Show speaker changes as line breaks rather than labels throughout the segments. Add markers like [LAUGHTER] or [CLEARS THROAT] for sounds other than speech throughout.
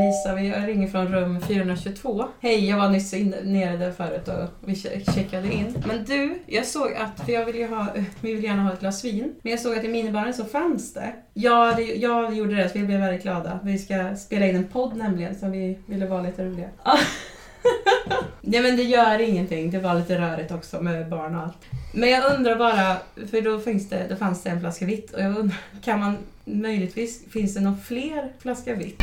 Lisa, vi ringer från rum 422. Hej, jag var nyss in, nere där förut och vi che- checkade in. Men du, jag såg att, för jag vill ju ha, vi vill gärna ha ett glas vin, men jag såg att i minibaren så fanns det. Ja, det, jag gjorde det så vi blev väldigt glada. Vi ska spela in en podd nämligen, så vi ville vara lite roliga. [LAUGHS] Nej men det gör ingenting, det var lite rörigt också med barn och allt. Men jag undrar bara, för då, finns det, då fanns det en flaska vitt och jag undrar, kan man möjligtvis, finns det någon fler flaska vitt?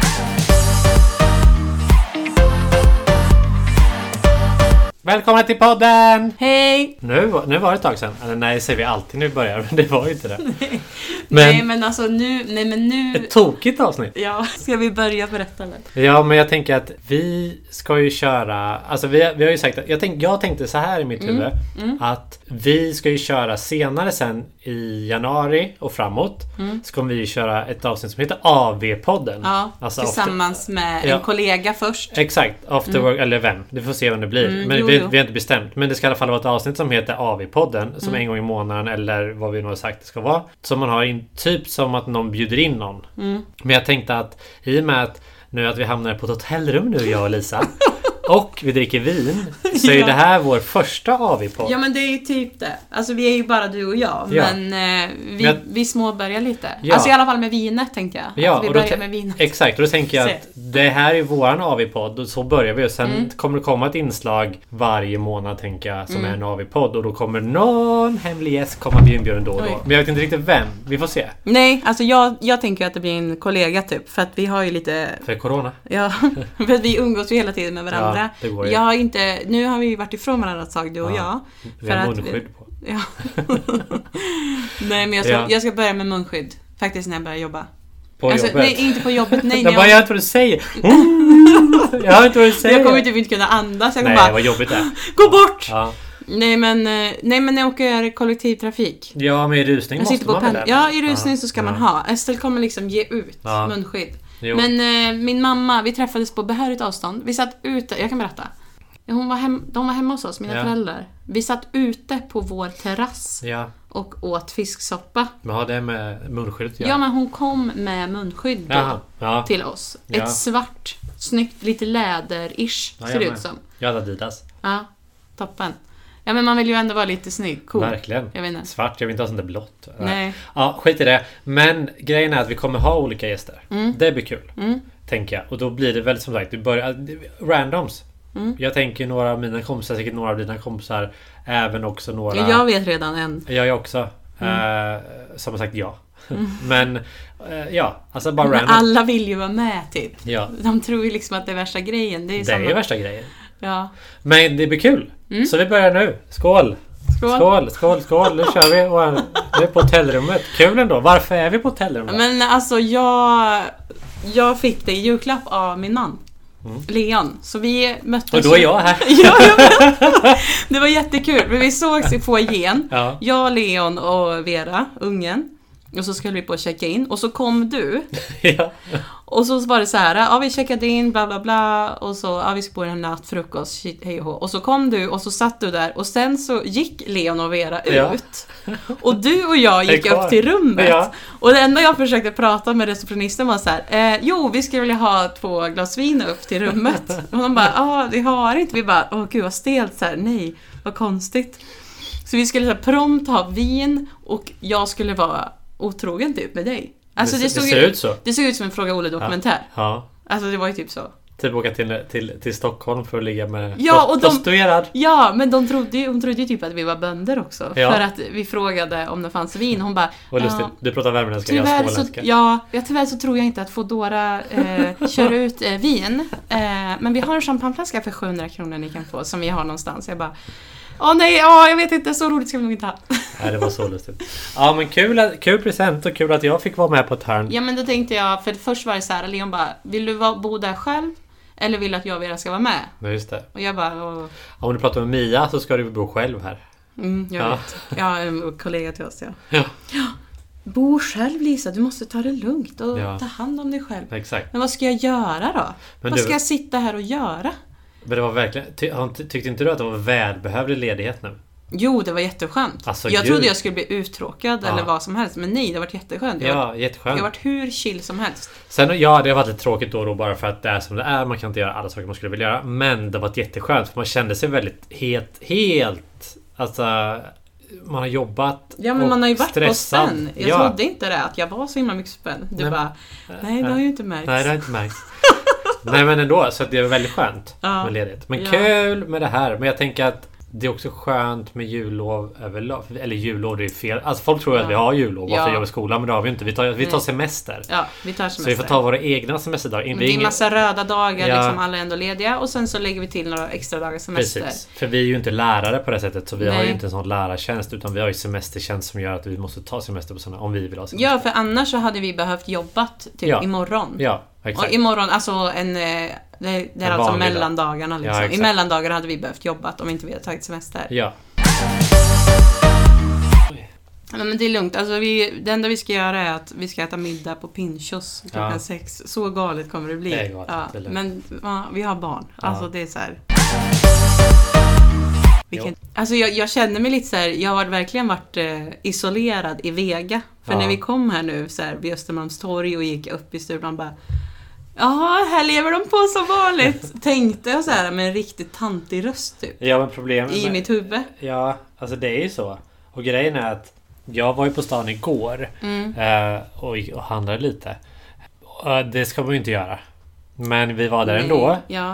Välkomna till podden!
Hej!
Nu, nu var det ett tag sedan. Eller nej, säger vi alltid nu i början, men det var ju inte det.
[LAUGHS] nej
Men
men alltså nu, nej men nu,
ett tokigt avsnitt.
ja, ska vi börja berätta eller?
Ja, men jag tänker att vi ska ju köra... Alltså vi, vi har ju sagt att... Jag, tänk, jag tänkte så här i mitt
Mm,
huvud. Att vi ska ju köra senare sen i januari och framåt. Så kommer vi ju köra ett avsnitt som heter AV-podden.
Mm. Ja,
Alltså,
tillsammans med
Ja.
en kollega först.
Exakt, after work eller vem. Du får se vem det blir.
Mm,
men
jo,
vi,
jo.
vi har inte bestämt. Men det ska i alla fall vara ett avsnitt som heter AV-podden. Som
Mm.
en gång i månaden eller vad vi nu har sagt det ska vara. Som man har in, typ som att någon bjuder in någon.
Mm.
Men jag tänkte att i och med att nu att vi hamnar på ett hotellrum nu jag
[LAUGHS]
och Lisa. och vi dricker vin. Så är
Ja.
det här vår första AV-podd.
Ja men det är ju typ det. Alltså vi är ju bara du och jag,
Ja.
men eh, vi,
Men-
vi småbörjar lite.
Ja.
Alltså i alla fall med vinet tänkte jag.
Ja,
att vi
och då
börjar
tän-
med vinet.
Exakt, och då tänker jag
Se. Mm.
att det här är våran AV-podd och så börjar vi och sen kommer det komma ett inslag varje månad tänker jag som är en AV-podd och då kommer någon hemlig gäst komma bli inbjuden då och
Oj.
då. Men jag vet inte riktigt vem. Vi får se.
Nej, alltså jag, jag tänker att det blir en kollega typ, för att vi har ju lite
För corona.
Ja, [LAUGHS] för att vi umgås ju hela tiden med varandra.
Ja, det går ju.
jag har inte, nu har vi ju varit ifrån varandra ett tag, du och
Ja.
jag.
Vi har
att-
munskydd på.
Ja. [LAUGHS] nej, men jag ska,
Ja.
jag ska börja med munskydd. Faktiskt när jag börjar jobba.
På
alltså,
jobbet.
Nej, inte på jobbet.
[LAUGHS]
Nej, när
jag bara, jag
jag,
hör inte vad du säger. Mm. jag hör inte vad du säger.
jag kommer typ inte kunna andas. Jag kommer
Nej,
bara
vad jobbigt det är.
Gå bort!
Ja,
Nej, men, eh, nej, men när jag åker kollektivtrafik.
ja men i rusning
Jag
måste
sitter på
man väl
pen-
ändå?
Ja, i rusning så ska
Ja.
man ha. Estelle kommer liksom ge ut
Ja.
munskydd.
Jo.
Men eh, min mamma, vi träffades på behörigt avstånd. Vi satt ute, jag kan berätta. Hon var hem, de var hemma hos oss, mina
Ja.
föräldrar. Vi satt ute på vår terrass
Ja,
och åt fisksoppa.
men har det med munskyddet att
Ja,
göra?
men hon kom med munskydd då,
Jaha, ja.
till oss.
Ja.
Ett svart, snyggt, lite läder-ish
Ja,
ser det
jag
ut som.
med. Jag hade Adidas.
Ja, toppen. Ja, men man vill ju ändå vara lite snygg, cool.
Verkligen.
Jag vet inte.
Svart, jag vill inte ha sånt där blått.
Nej.
Ja, skit i det. Men grejen är att vi kommer ha olika gäster.
Mm.
Det blir kul. Tänker jag. Och då blir det väl som sagt, du börjar... Randoms.
Mm.
Jag tänker några av mina kompisar, säkert några av dina kompisar. Även också några...
Jag Mm. vet redan en.
Jag är också. Eh, som har sagt ja. [LAUGHS] Men eh, ja, alltså bara
Mm. Men
random.
alla vill ju vara med, typ.
Ja,
De tror ju liksom att det är värsta grejen. Det är ju
det är
samma...
ju värsta grejen.
Ja.
Men det blir kul. Så vi börjar nu. Skål!
Skål.
Skål, skål, skål. Nu kör vi. Och Nu är på hotellrummet. Kul ändå. Varför är vi på hotellrummet?
Men alltså jag, jag fick det i julklapp av min man. Leon. Så vi möttes
Mm. Och då är
ju-
jag här.
[LAUGHS] ja, jag vet.
[LAUGHS]
Det var jättekul. Men vi sågs i foajén.
Ja.
Jag, Leon och Vera, ungen. Och så skulle vi på att checka in. Och så kom du.
[LAUGHS] ja.
Och så var det så här, ja vi checkade in, bla bla bla. Och så, ja vi ska bo i en natt, frukost, shit, hej och hå. Och så kom du och så satt du där. Och sen så gick Leon och Vera
Ja.
ut. Och du och jag
Är
gick
kvar.
upp till rummet.
Ja.
Och det enda jag försökte prata med receptionisten var så här, eh, jo vi skulle vilja ha två glas vin upp till rummet. Och de bara, ja vi har inte. Vi bara, åh gud vad stelt så här, nej, vad konstigt. Så vi skulle så här, prompt ha vin och jag skulle vara otrogen typ med dig. Alltså,
Det
det,
se-
såg
det ser
ju-
ut så.
Det såg ut som en Fråga Olle-dokumentär.
ja.
Alltså det var ju typ så.
Typ åka till, till, till Stockholm för att ligga med
Ja, och de-
prostituerad.
Ja, men de trodde ju, hon trodde ju typ att vi var bönder också.
Ja.
För att vi frågade om det fanns vin. Hon bara...
Vad lustigt.
"Ja,
Du pratar värmländska, jag
Tyvärr så,
småländska.
ja, ja, tyvärr så tror jag inte att Foodora
[LAUGHS]
eh, kör ut eh, vin. Eh, men vi har en champagneflaska för 700 kronor ni kan få, som vi har någonstans. Jag bara, åh nej, åh, jag vet inte, så roligt ska vi nog inte ha.
Nej, det var så lustigt. Ja, men kul, att- kul present och kul att jag fick vara med på ett hörn.
Ja men då tänkte jag, för först var det så här, Leon bara, vill du va- bo där själv? Eller vill du att jag och Vera ska vara med?
Ja, just det.
Och jag bara, åh,
Om du pratar med Mia så ska du bo själv här.
mm, jag
Ja.
vet. Ja, en kollega till oss ja.
Ja,
Bo själv Lisa, du måste ta det lugnt och
Ja.
ta hand om dig själv.
exakt.
Men vad ska jag göra då?
Men
vad
du-
ska jag sitta här och göra?
Men det var verkligen... Ty, han, ty- tyckte inte du att det var välbehövlig ledighet nu?
Jo, det var jätteskönt.
Alltså,
jag
gud.
trodde jag skulle bli uttråkad
Ja.
eller vad som helst, men nej, det har varit jätteskönt. Jag, har-
Ja,
jag har
jätteskönt.
varit hur chill som helst.
Sen, ja, det har varit lite tråkigt då och då bara för att det är som det är. Man kan inte göra alla saker man skulle vilja göra. Men det har varit jätteskönt för man kände sig väldigt helt, helt... Alltså... Man har jobbat
Ja, men
och
man har ju varit
stressad.
på spänn. Jag
ja.
trodde inte det, att jag var så himla mycket spänd. Du
Nej,
bara, nej, det har ju inte märkts.
Nej, det har
[LAUGHS]
inte märkts. Nej, men ändå. Så att det är väldigt skönt
Ja.
med ledigt. Men
Ja.
kul med det här. Men jag tänker att det är också skönt med jullov överlag. Eller jullov, det är ju fel. Alltså folk tror ju att
Ja.
vi har jullov bara för att
Ja.
jobba i skolan. Men det har vi ju inte. Vi tar, vi tar
Nej.
semester.
Ja, vi tar
Så vi får
semester.
ta våra egna semesterdagar.
Men
Inte-
det är en
ingen-
massa röda dagar,
Ja.
liksom alla är ändå lediga. Och sen så lägger vi till några extra dagar semester.
Precis. För vi är ju inte lärare på det sättet. Så vi har ju
Nej.
inte en sån lärartjänst. Utan vi har ju semestertjänst som gör att vi måste ta semester på sådana. Om vi vill ha semester.
Ja, för annars så hade vi behövt jobbat typ
Ja.
imorgon.
Ja,
Och
exakt.
imorgon, alltså en... eh, Det, det är
En
alltså
vanlig dag.
mellandagarna
Ja,
liksom. I
exakt.
mellandagarna hade vi behövt jobbat om inte vi hade tagit semester.
Ja.
Men, men det är lugnt. Alltså, vi, det enda vi ska göra är att vi ska äta middag på Pinchos klockan
Ja.
sex. Så galet kommer det bli.
Det är galet,
ja.
det är lugnt.
Men ja, vi har barn.
Ja.
Alltså det är så här. Vilken, alltså jag, jag känner mig lite så här, jag har verkligen varit eh, isolerad i Vega. För
Ja.
när vi kom här nu så här, vid Östermalmstorg och gick upp i Stureplan bara Jaha, här lever de på som
[LAUGHS]
vanligt. Tänkte jag så här med en riktigt tantig röst typ.
Ja, men problemet
I
med-
mitt huvud.
Ja, alltså det är ju så. Och grejen är att jag var ju på stan igår
Mm.
eh, och, gick och handlade lite. Eh, det ska man ju inte göra. Men vi var där
Nej,
ändå.
Ja.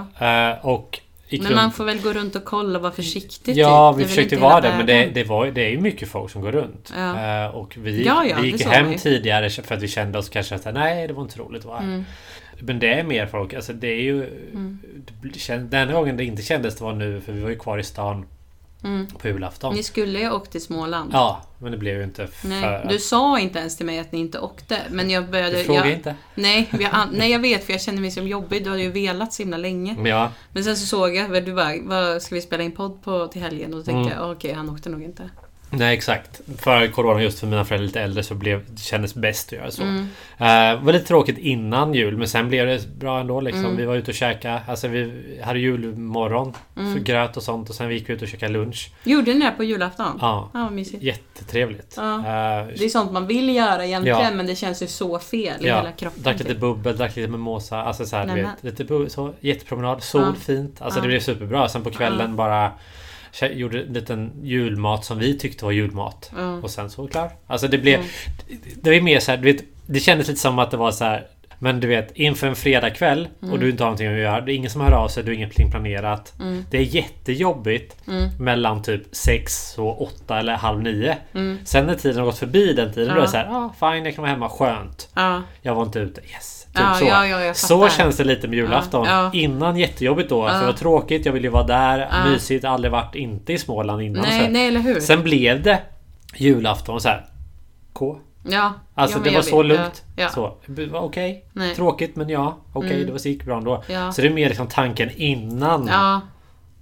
Eh, och gick
Men
runt.
man får väl gå runt och kolla och vara försiktig
Ja,
typ. Det är
vi
väl inte
försökte
hela
vara där men det,
världen.
det, var, ju- det är ju mycket folk som går runt.
Ja.
Eh, och vi,
Ja, ja,
vi
det
gick
såg
hem
vi.
tidigare för att vi kände oss kanske att nej, det var inte roligt att vara här.
Mm.
Men det är mer folk. Alltså det är ju...
Mm.
Det kän- den enda gången det inte kändes det var nu för vi var ju kvar i stan
Mm.
på julafton.
Ni skulle ju åkt till Småland.
Ja, men det blev ju inte för
Nej,
att-
du sa inte ens till mig att ni inte åkte. Men jag började...
Du frågar
jag,
inte.
Nej, vi
[LAUGHS]
har- nej, jag vet för jag kände mig som jobbig. Du hade ju velat så himla länge.
Ja,
Men sen så såg jag, vad du bara, vad ska vi spela in podd på till helgen? Och då tänkte
Mm.
jag, okej, han åkte nog inte.
nej exakt. För corona, just för mina föräldrar är lite äldre, så blev, det kändes bäst att göra så.
Mm.
Eh, var lite tråkigt innan jul, men sen blev det bra ändå. Liksom.
Mm.
Vi var ute och käkade. Alltså, vi hade julmorgon, för
Mm.
gröt och sånt. Och sen gick vi ut och käkade lunch.
Gjorde ni det på julafton?
Ja,
Ja, vad mysigt.
jättetrevligt.
Ja.
Eh,
Det är sånt man vill göra egentligen,
Ja.
men det känns ju så fel i
Ja,
hela kroppen.
Drack lite
typ.
bubbel, drack lite mimosa. Alltså så här, du
Nämen.
vet, lite bu- så, jättepromenad, sol,
Ja.
fint. Alltså
Ja.
det blev superbra. Sen på kvällen bara kä- gjorde en liten julmat som vi tyckte var julmat.
Ja.
Och sen så var det klar. Alltså det blev...
Mm.
Det, det var ju mer så här, du vet, det kändes lite som att det var så här... Men du vet, inför en fredagkväll och du inte har någonting att göra. Det är ingen som hör av sig, du har ingenting planerat.
Mm.
Det är jättejobbigt
Mm.
mellan typ sex och åtta eller halv nio.
Mm.
Sen när tiden har gått förbi den tiden, då är
Ja.
det så här, ah, fine, jag kan vara hemma, skönt.
Ja.
Jag var inte ute. Yes. Typ
Ja,
så.
ja, ja, jag
så
fattar.
känns det lite med julafton.
Ja, ja.
Innan jättejobbigt då. För
Ja.
det var tråkigt. Jag ville ju vara där.
Ja.
Mysigt. Aldrig varit inte i Småland innan. så
Nej,
här.
nej, eller hur?
Sen blev det julafton så här. K.
Ja.
Alltså
ja, men
det
jag
var så
vet.
lugnt.
Ja, ja.
Så. Det var Okej.
Nej.
Tråkigt men ja. Okej,
Mm.
det var så gick bra ändå.
Ja.
Så det är mer liksom tanken innan.
Ja.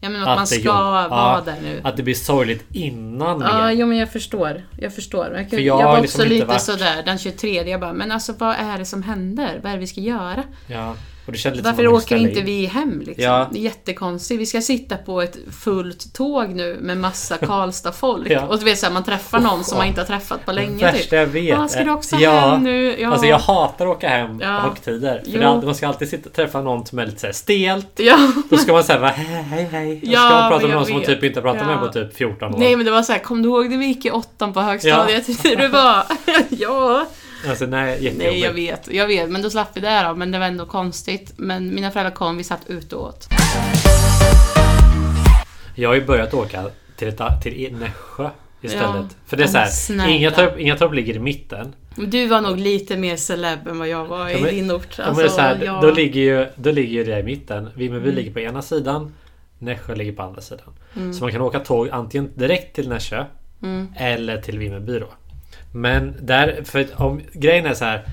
ja men att,
Att
man
det är
ska
jobb.
vara
Ja.
där nu.
Att det blir sorgligt innan.
Ja,
mer.
jo men jag förstår. Jag förstår. Men Jag,
För
kunde,
jag
jag, var
har
också
liksom inte
lite
varit-
sådär den 23, jag bara men alltså vad är det som händer? Vad är det vi ska göra?
ja. Och det kändes lite som
Varför
att man
åker
ställer
inte
in.
vi hem liksom?
Ja.
Det är jättekonstigt. Vi ska sitta på ett fullt tåg nu med
[LAUGHS]
massa Karlstad-folk.
Ja.
Och du vet såhär, man träffar någon som man inte har träffat på
Det
länge typ.
värsta jag vet.
Ah, ska du också
ja.
hem nu? Ja.
Alltså jag hatar att åka hem
Ja.
på högtider. För
Jo.
det, är alltid- man ska alltid sitta, träffa någon som är lite såhär stel.
ja.
Då ska man säga bara hej hej hej. Och
Ja,
ska man
men
prata med
jag
någon som man
vet.
typ inte pratat med
Ja.
på typ 14 år.
Nej men det var såhär, kom du ihåg när vi gick i åttan på högstadiet? [LAUGHS] du bara, ja.
Alltså nej, jättejobbigt.
Nej jag vet, jag vet. Men då slapp vi det då. Men det var ändå konstigt. Men mina föräldrar kom, vi satt ute och åt.
Jag har ju börjat åka till, ett, till E- Nässjö istället.
Ja.
För det är
Ja, men
såhär,
snälla.
Ingatorp, Ingatorp ligger i mitten.
Men Du var nog lite mer celeb än vad jag var
Ja,
i
men-
din ort. alltså,
Ja, men det är så här,
jag-
då, ligger ju, då ligger ju det i mitten. Vimmerby
Mm.
ligger på ena sidan. Nässjö ligger på andra sidan. Så man kan åka tåg antingen direkt till Nässjö
Mm.
eller till Vimmerby då. Men där, för att om, grejen är så här.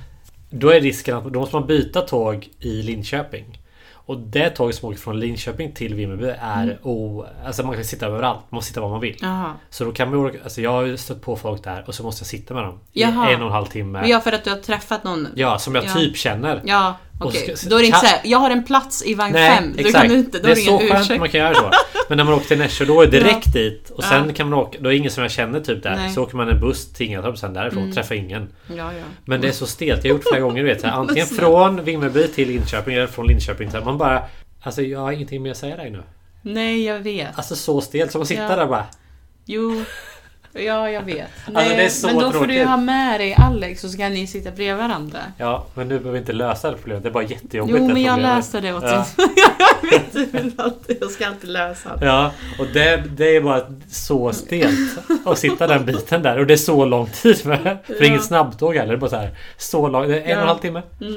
Då är risken att då måste man byta tåg i Linköping. Och det tåg som åker från Linköping till Vimmerby är
Mm.
o... Alltså man kan sitta överallt. Man måste sitta var man vill.
Jaha.
Så då kan man ju åka- Alltså jag har ju stött på folk där och så måste jag sitta med dem. I
Jaha.
en och en halv timme.
Men ja, för att du har träffat någon.
Ja, som jag
Ja.
typ känner.
Ja, Okej,
Och ska-
då är det inte
kan-
såhär, jag har en plats i vagn
Nej,
5. Då
exakt.
kan du inte, då
det är
har du
så
ingen
skönt
ursäkt.
att man kan göra så. Men när man åker till Nässjö då är det direkt dit. Och sen
Ja.
kan man åka, då är det ingen som jag känner typ där.
Nej. Mm.
Så åker man en buss till Ingatorp sen därifrån. Träffar ingen.
Ja, ja.
Men det är så stelt. Jag har gjort
[LAUGHS]
flera gånger. Du vet, så här, antingen
Bussen.
från Vimmerby till Linköping eller från Linköping till... Man bara... Alltså jag har ingenting mer att säga dig nu.
Nej, jag vet.
Alltså så stelt. Som att sitta
Ja.
där och bara...
Jo. Ja, jag vet. Nej,
Alltså, det är så
men då får du ju
tråkigt.
ha med dig Alex så ska ni sitta bredvid varandra.
Ja, men nu behöver vi inte lösa det problemet. Det är bara jättejobbigt.
Jo,
det
men jag
problemet.
löser det åt
Ja.
dig. [LAUGHS] jag vet du vill alltid. Jag ska alltid lösa det.
Ja, och det, det är bara så stelt att sitta den biten där. Och det är så lång tid med. För
Ja.
inget snabbtåg heller. Det är bara så här, så lång, det är en och en
Ja.
halv timme.
Mm.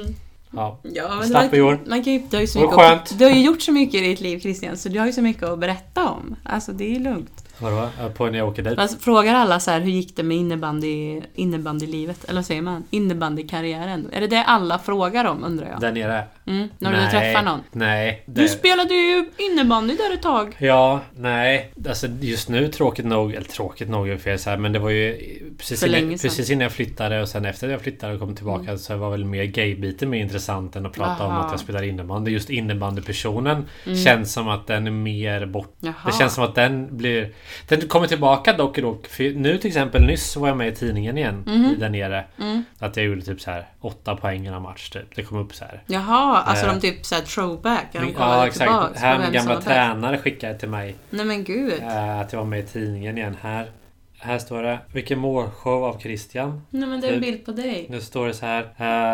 Ja.
Ja, men
Slapp i
det
år.
var, man kan ju, du, har ju så
Vad
mycket att-
skönt.
du har ju gjort så mycket i ditt liv Christian, så du har ju så mycket att berätta om. Alltså det är lugnt.
Vadå? Ja, På när jag åker dit?
Man frågar alla så här, hur gick det med innebandy, innebandylivet? Eller vad säger man? Innebandykarriären? Är det det alla frågar om undrar jag?
Där nere?
Mm, när du träffar någon?
Nej.
Du spelade ju innebandy där ett tag.
Ja, nej. Alltså just nu tråkigt nog, eller tråkigt nog är fel så här, men det var ju precis,
För
innan,
länge sedan. Mm.
precis innan jag flyttade och sen efter jag flyttade och kom tillbaka så var väl mer gaybiten mer intressant än att prata
Aha.
om
Mm.
att jag spelar innebandy. Just innebandypersonen känns som att den är mer bort.
Jaha.
Det känns som att den blir... Den kommer tillbaka dock och dock. För nu till exempel nyss så var jag med i tidningen igen
Mhm.
där nere.
Mm.
Att jag gjorde typ så här åtta poäng i en match typ. Det kom upp så här.
Jaha, alltså
Eh.
de typ såhär throwback. när De
Ja
kollade tillbaks
exakt.
på
Här
vem
min
som
gamla
var bäst.
tränare skickade till mig
Nej men gud.
Eh, Att jag var med i tidningen igen här. Här står det. Vilken målshow av Christian.
Nej men det är en
Typ.
bild på dig.
Nu står det så här.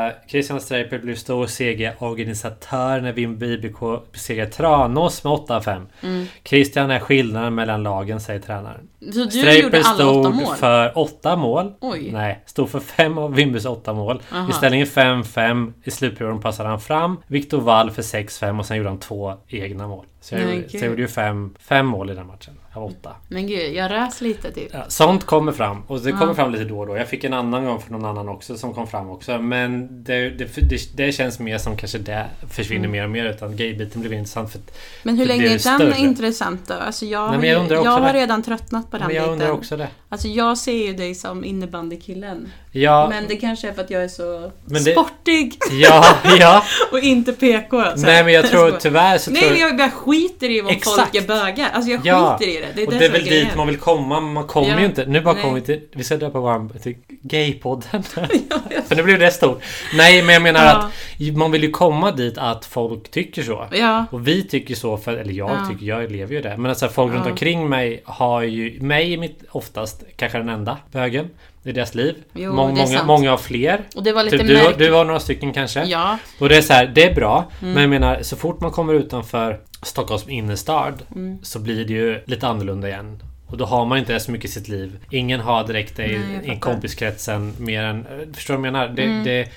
eh, Christian Streiper blev stor segerorganisatör när Vimmerby BK besegrar Tranås med 8-5.
Mm.
Christian är skillnaden mellan lagen, säger tränaren.
Så du
Streiper
gjorde alla åtta
stod
mål?
för åtta mål.
Oj.
Nej, stod för fem av Wimbys åtta mål.
Aha.
I ställningen 5-5. I slutperioden passade han fram. Viktor Wall för 6-5 och sen gjorde han två egna mål. Så jag,
Nej,
gjorde, så jag
gud.
gjorde ju fem, fem mål i den matchen. Av åtta.
Men gud, jag rös lite typ.
Ja, sånt kommer fram och det kommer fram lite då och då. Jag fick en annan gång från någon annan också som kom fram också. Men det, det, det, det känns mer som kanske det försvinner
Mm.
mer och mer. Utan gaybiten blev intressant. För att,
Men hur
Det
länge
blir
är den
större.
intressant då? Alltså jag,
Nej, men
har
jag
ju-
undrar också
jag har
det.
redan tröttnat på den
men jag undrar
biten.
också det.
Alltså jag ser ju dig som innebandykillen.
Ja,
Men det kanske är för att jag är så
Men det-
sportig
ja, ja.
och inte alltså. PK. [LAUGHS] så här.
Nej men jag tror
skojar.
tyvärr så
Nej,
tror
men jag bara skiter i om
Exakt.
folk är bögar. Alltså jag
Ja.
skiter i det. Det är
och
det,
det är
som är
väl dit
grejen.
man vill komma, men man kommer
Ja.
ju inte. Nu bara
Nej.
kommer vi till... Vi ska döpa vår till Gaypodden.
[LAUGHS] Ja, jag-
[LAUGHS] För nu blev det stort. Nej, men jag menar
Ja.
att man vill ju komma dit att folk tycker så.
ja.
Och vi tycker så, för, eller jag
Ja.
tycker, jag lever ju det. Men alltså, folk runt
Ja.
omkring mig har ju, mig är mitt oftast, kanske den enda bögen i deras liv.
Jo,
Mång-
det är
många,
sant.
många har fler.
Och det var lite
Typ, du, har-
märkligt.
du har några stycken kanske.
Ja.
Och det är så här, det är bra.
Mm.
Men jag menar, så fort man kommer utanför Stockholms innerstad
Mm.
så blir det ju lite annorlunda igen. Och då har man inte så mycket i sitt liv. Ingen har direkt det
Nej, jag
i, i
fattar. Mm.
kompiskretsen mer än... eh, Förstår du vad jag menar? Det, det,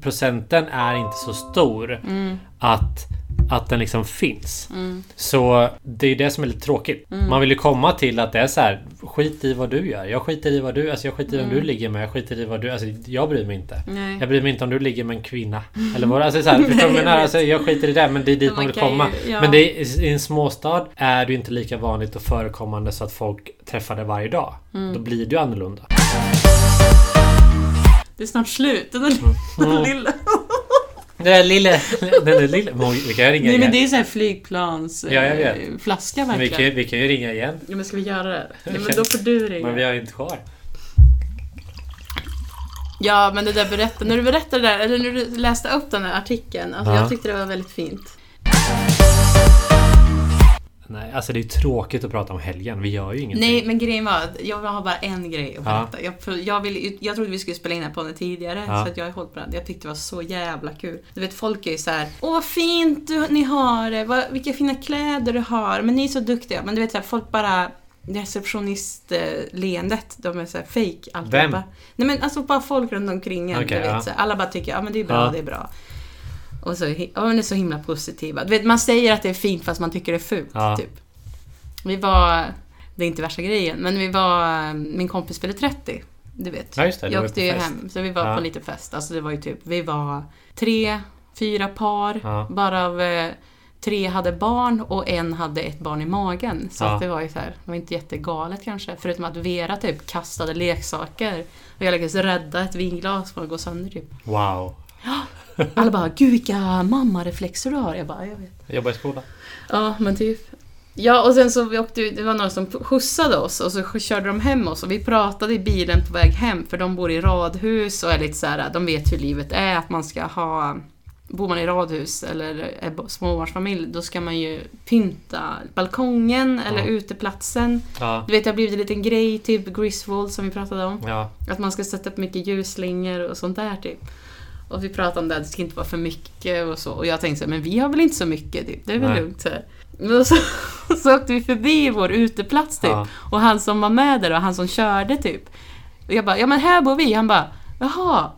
procenten är inte så stor
Mm.
att, att den liksom finns. Så det är ju det som är lite tråkigt.
Mm.
Man vill ju komma till att det är så här. Skit i vad du gör. Jag skiter i vad du... Alltså jag skiter i vem
Mm.
du ligger med. Jag skiter i vad du... Alltså jag bryr mig inte.
Nej.
Jag bryr mig inte om du ligger med en kvinna. Eller vad alltså,
[LAUGHS]
så här, förstår du vad jag menar?
vet.
Alltså, jag skiter i det men det är dit
Men
man
man
vill
kan
komma.
ju- ja.
Men det är, i en småstad är det ju inte lika vanligt och förekommande så att folk träffar det varje dag.
Mm.
Då blir det ju annorlunda.
Det är snart slut. [LAUGHS] Den där
Mm.
lilla.
Den där lille... Den där lille... men Vi kan ju ringa
Nej men
igen.
det är såhär flygplansflaska
Ja, jag vet.
eh, flaska
Men vi,
verkligen.
kan, ju- vi kan ju ringa igen.
Ja, men ska vi göra
[LAUGHS]
det? Nej,
kan-
men då får du ringa.
Men vi har ju inte kvar.
Ja, men det där berättade, när du berättade det där, eller när du läste upp den här artikeln, alltså
Ja.
jag tyckte det var väldigt fint.
Nej, alltså det är ju tråkigt att prata om helgen. Vi gör ju ingenting.
Nej, men grejen var att jag har bara en grej att
Ja.
berätta. Jag, jag, vill, jag trodde vi skulle spela in den här podden tidigare,
Ja.
så att jag har hållit på den. Jag tyckte det var så jävla kul. Du vet, folk är ju så här, åh vad fint du, ni har det, vad, vilka fina kläder du har, men ni är så duktiga. Men du vet, så här, folk bara receptionistleendet, de är såhär fake alltihopa.
Vem?
Nej men alltså bara folk runt omkring en,
Okej,
du vet,
ja.
så här, Alla bara tycker, ja men det är bra,
Ja.
det är bra. Och så, hi- ja, men det är så himla positiva. Du vet, man säger att det är fint fast man tycker det är fult.
Ja.
Typ. Vi var, det är inte värsta grejen, men vi var, min kompis fyllde 30. Du vet.
Ja, just det, du
jag
var
åkte
på
ju
fest.
hem, så vi var
Ja.
på lite fest. Alltså det var ju typ, vi var tre, fyra par,
Ja.
bara av eh, tre hade barn och en hade ett barn i magen. Så
Ja.
att det var ju så här, det var inte jättegalet kanske. Förutom att Vera typ
[LAUGHS]
kastade leksaker och jag lyckades rädda ett vinglas från att gå sönder typ.
Wow.
Alla bara, gud vilka mammareflexer du har. Jag bara, jag vet.
Jag jobbar i skolan.
Ja, men typ. Ja, och sen så vi åkte, det var några som skjutsade oss och så körde de hem oss och vi pratade i bilen på väg hem för de bor i radhus och är lite så här, de vet hur livet är, att man ska ha Bor man i radhus eller är småbarnsfamilj, då ska man ju pynta balkongen eller
Ja.
uteplatsen.
Ja.
Du vet, det har blivit en liten grej, typ Griswold som vi pratade om.
Ja.
Att man ska sätta upp mycket ljusslingor och sånt där typ. Och vi pratade om det, det ska inte vara för mycket och så. Och jag tänkte så här, men vi har väl inte så mycket typ. Det är väl
Nej.
lugnt så här. Men så, [LAUGHS] så åkte vi förbi vår uteplats typ.
Ja.
Och han som var med där och han som körde typ. Och jag bara, ja men här bor vi. Han bara, jaha.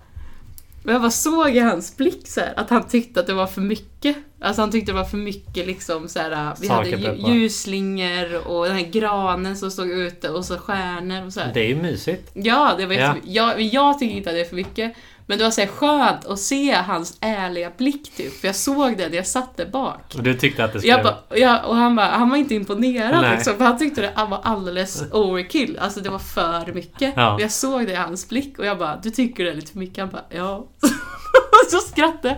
Och jag bara såg i hans blick så här, att han tyckte att det var för mycket. Alltså han tyckte det var för mycket liksom så här. Vi
Saker
hade
typ,
lju-
va?
ljusslingor och den här granen som stod ute och så stjärnor och så här.
Det är ju mysigt.
Ja, det var
Ja.
jättemycket. Jag, men jag tycker inte att det är för mycket. Men det var så här skönt att se hans ärliga blick typ. För jag såg det när jag satt där bak.
Och du tyckte att det skulle...
Jag bara, jag, och han, bara, han var inte imponerad
Nej.
liksom, för han tyckte det var alldeles overkill. Alltså det var för mycket.
Ja.
Och Jag såg det i hans blick och jag bara, du tycker det är lite för mycket? Han bara, ja. [LAUGHS] Och så skrattade jag.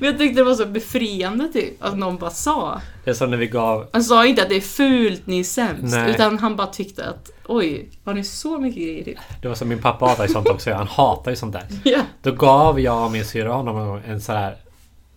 Men jag tyckte det var så befriande typ, att någon bara sa.
Det är som när vi gav...
Han sa inte att det är fult, ni är sämst.
Nej.
Utan han bara tyckte att, oj, har ni så mycket grejer typ?
Det var som min pappa hatar ju sånt också. Han hatar ju sånt där.
[LAUGHS] Ja.
Då gav jag och min syrra honom en gång en sån här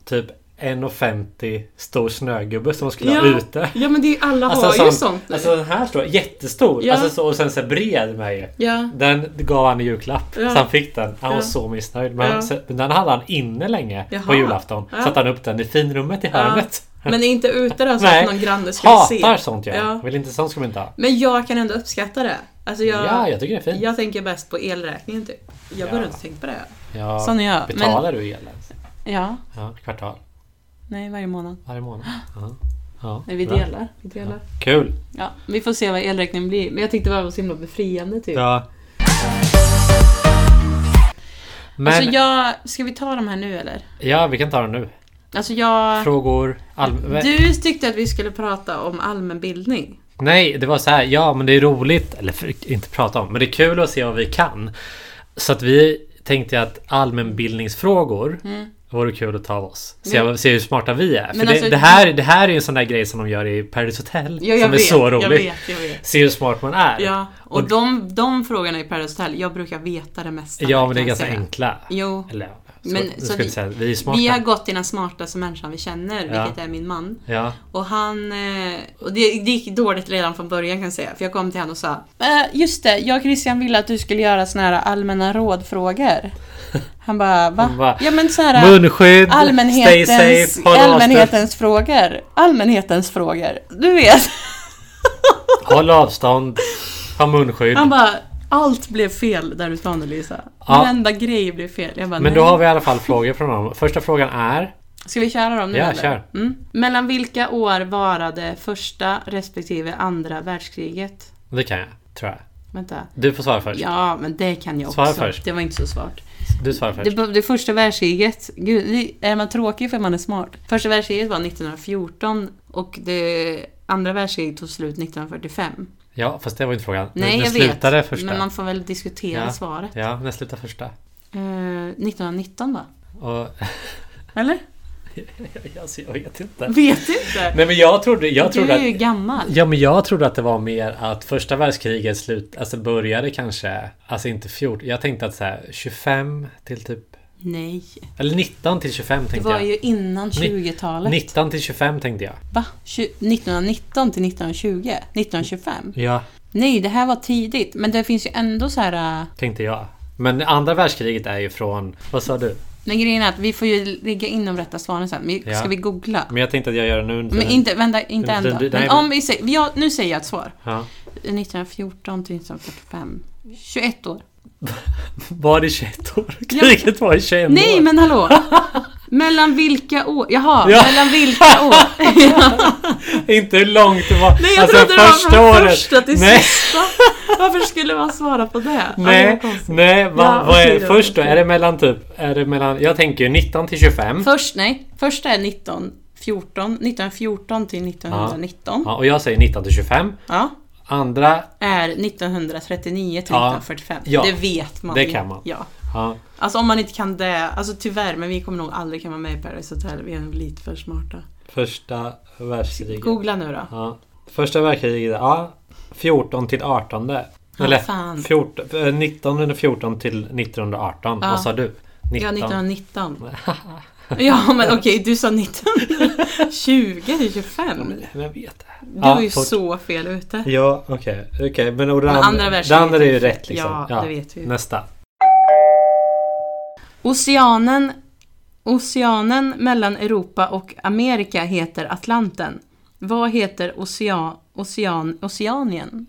typ 1,50 stor snögubbe som skulle ha ute.
Ja men det är, alla har ju sånt nu.
Alltså den här står jättestor.
Ja.
Alltså, så, och sen så här bred med ju.
ja.
Den gav han i julklapp.
Ja.
Så han fick den. Han
Ja.
var så missnöjd. Men
Ja.
så, men den hade han inne länge på
Jaha.
julafton.
Ja.
Satte han upp den i finrummet i hörnet.
Men är inte ute där så
Nej.
att någon granne skulle
Hatar
se.
sånt jag.
Ja.
Vill inte sånt ska man inte ha.
Men jag kan ändå uppskatta det. Alltså jag,
Ja, jag tycker det är fint.
jag tänker bäst på elräkningen typ. Jag går
Ja.
runt och tänker på det.
Ja.
Sån är jag.
Betalar du elen?
Ja,
Ja, kvartal.
nej varje månad.
Varje månad. Ja. Ja.
Nej, vi
Bra.
delar. Vi, delar. Ja.
Kul!
vi får se vad elräkningen blir. Men jag tyckte det var så himla befriande typ.
Ja. Men,
Alltså jag, ska vi ta de här nu eller?
ja, vi kan ta den nu.
Alltså jag...
Frågor, all...
Du tyckte att vi skulle prata om allmänbildning.
Nej, det var så här. Ja, men det är roligt. Eller för, inte prata om. Men det är kul att se vad vi kan. Så att vi tänkte att allmänbildningsfrågor vore kul att ta av oss. Se,
Men-
se hur smarta vi är. För
Mm. Men
det,
alltså-
det, här, det här är ju en sån där grej som de gör i Paradise Hotel.
Ja, jag
som
vet,
är så rolig.
jag vet, jag vet.
Se hur smart man är.
Ja, och de, de frågorna i Paradise Hotel, jag brukar veta det mesta.
Ja, men det är
kan jag
ganska
säga.
enkla.
Jo.
Eller, så,
Men,
men,
så
så
vi-
vi, säga. vi är smarta.
Vi har gått till den smartaste människan vi känner,
Ja.
vilket är min man.
Ja.
Och han... eh, Och det, det gick dåligt redan från början kan jag säga, för jag kom till honom och sa "Eh, Just det, jag och Christian ville att du skulle göra såna här allmänna rådfrågor.
[LAUGHS]
Han bara, va?
Han bara,
ja men så här,
Munskydd, stay
allmänhetens,
safe, håll avstånd.
allmänhetens frågor. Allmänhetens frågor. Du vet.
[LAUGHS] Håll avstånd. Ha munskydd.
Han bara, allt blev fel där du sa nu Lisa.
Ja.
Varenda grej blev fel. Jag bara,
Men då
"Nej."
har vi i alla fall frågor från honom. Första frågan är...
Ska vi köra dem nu
Ja,
eller?
kör.
Mm. Mellan vilka år varade första respektive andra världskriget?
Det kan jag, tror jag.
Vänta.
Du får svara först.
Ja, men det kan jag
Svara
också.
först.
Det var inte så svårt.
Du svarar först.
Det, det första världskriget, gud, det- är man tråkig för man är smart? Första världskriget var 1914 och det andra världskriget tog slut 1945.
Ja, fast det var inte frågan.
Nej,
när
jag
slutade
vet.
första?
Men man får väl diskutera
Ja.
svaret.
Ja, när slutade första?
Eh, 1919 va?
Och... [LAUGHS]
Eller?
alltså, jag vet inte.
Vet du inte?
Nej, men jag trodde... Jag
du
trodde
är ju
att...
gammal.
Ja, men jag trodde att det var mer att första världskriget slut... Alltså började kanske... Alltså inte 14... Jag tänkte att så här 25 till typ...
Nej.
Eller 19 till 25
Det
tänkte
var
jag.
ju innan 20-talet.
19 till 25 tänkte jag.
Va? Tju- 1919 till 1920? 1925?
Ja.
Nej, det här var tidigt. Men det finns ju ändå så här... äh,
Tänkte jag. Men andra världskriget är ju från... Vad sa du?
Men grejen är att vi får ju ligga inom rätta svaren sen. Vi,
Ja.
Ska vi googla?
Men jag tänkte att jag gör det nu.
Men inte, vänta, inte
Men-
ändå.
nej,
Men
men-
om vi säger, ja, nu säger jag ett svar.
Ja.
1914 till 1945. 21 år.
Var det 21 år?
Ja.
Kriget var i 21 år.
Nej, men
[LAUGHS]
hallå! Mellan vilka år? Jaha,
Ja.
mellan vilka
[LAUGHS]
år? Ja.
Inte hur långt det var. Alltså,
Nej, jag trodde det var
första
från
året.
första till
Nej.
sista. Varför skulle man svara på det? Ja, det var
Nej,
konstigt.
nej vad,
Ja,
vad
okej
är
då.
först då? Är det mellan typ... Är det mellan... Jag tänker ju 19 till 25.
Först, nej. Första är 1914. 1914 till 1919. Ja.
Ja, och jag säger 19 till 25. Andra...
Är 1939 till
Ja.
1945.
Ja.
Det vet man
Det
ju.
kan man.
Ja.
Ja.
Alltså om man inte kan det, alltså tyvärr, men vi kommer nog aldrig kunna vara med i Paradise Hotel. Vi är nog lite för smarta.
Första världskriget.
Googla nu då.
Ja. Första världskriget, ja. 14 till 18.
Ja,
Eller
fan.
14, eh, 1914 till 1918.
Ja.
Vad sa du?
Ja, 1919.
[LAUGHS]
Ja, men okej, du sa [LAUGHS] 19. 20 till 25.
Vem vet det?
Du
Ja,
är ju
fort.
så fel ute.
Ja, okej. Okay. Men och det
Men
andra,
andra
det
världskriget
andra är ju
är fel.
rätt liksom.
Ja, det vet vi ju.
Nästa.
Oceanen, oceanen mellan Europa och Amerika heter Atlanten. Vad heter ocean, ocean, Oceanien?